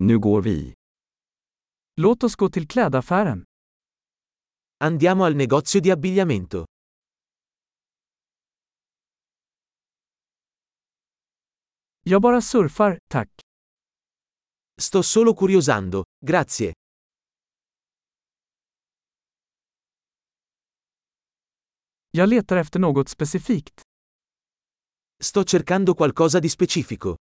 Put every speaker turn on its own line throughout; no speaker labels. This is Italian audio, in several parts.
Nu går vi.
Låt oss gå till klädaffären.
Andiamo al negozio di abbigliamento.
Jag bara surfar, tack.
Sto solo curiosando, grazie.
Jag letar efter något specifikt.
Sto cercando qualcosa di specifico.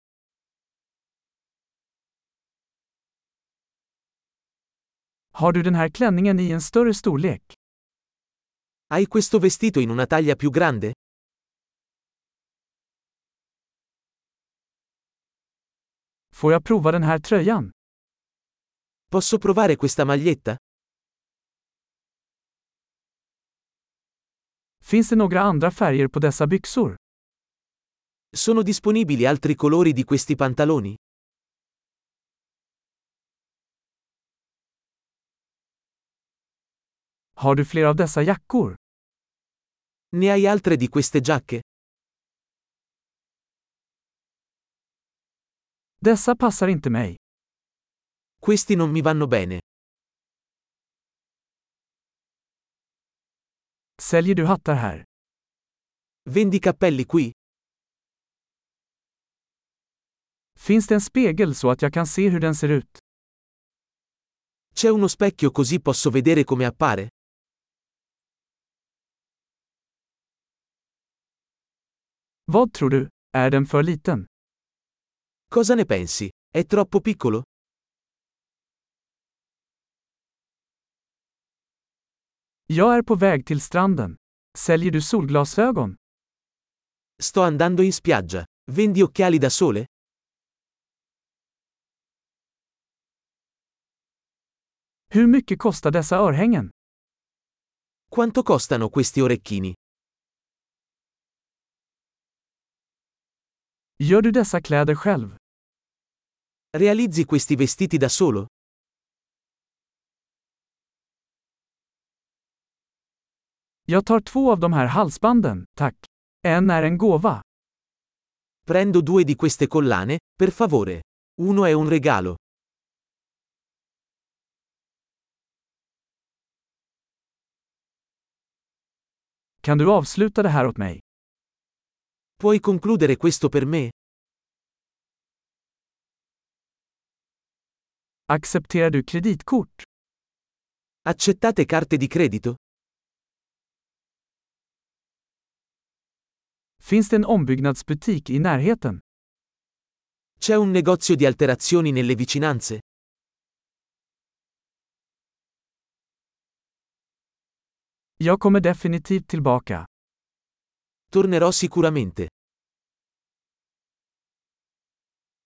Har du den här klänningen i en större storlek?
Hai questo vestito in una taglia più grande?
Får jag prova den här tröjan?
Posso provare questa maglietta?
Finns det några andra färger på dessa byxor?
Sono disponibili altri colori di questi pantaloni?
Har du fler av dessa jackor?
Ne hai altre di queste giacche?
Dessa passar inte mig.
Questi non mi vanno bene.
Säljer du hattar här?
Vendi cappelli qui?
Finns det en spegel så att jag kan se hur den ser ut?
C'è uno specchio così posso vedere come appare?
Vad tror du? Är den för liten?
Cosa ne pensi? È troppo piccolo?
Jag är på väg till stranden. Säljer du solglasögon?
Sto andando in spiaggia. Vendi occhiali da sole?
Hur mycket kostar dessa örhängen?
Quanto costano questi orecchini?
Gör du dessa kläder själv?
Realizzi questi vestiti da solo?
Jag tar två av de här halsbanden, tack. En är en gåva.
Prendo due di queste collane, per favore. Uno è un regalo.
Kan du avsluta det här åt mig?
Puoi concludere questo per me?
Accepterar du kreditkort?
Accettate carte di credito?
Finns det en ombyggnadsbutik i närheten?
C'è un negozio di alterazioni nelle vicinanze?
Jag kommer definitivt tillbaka.
Tornerò sicuramente.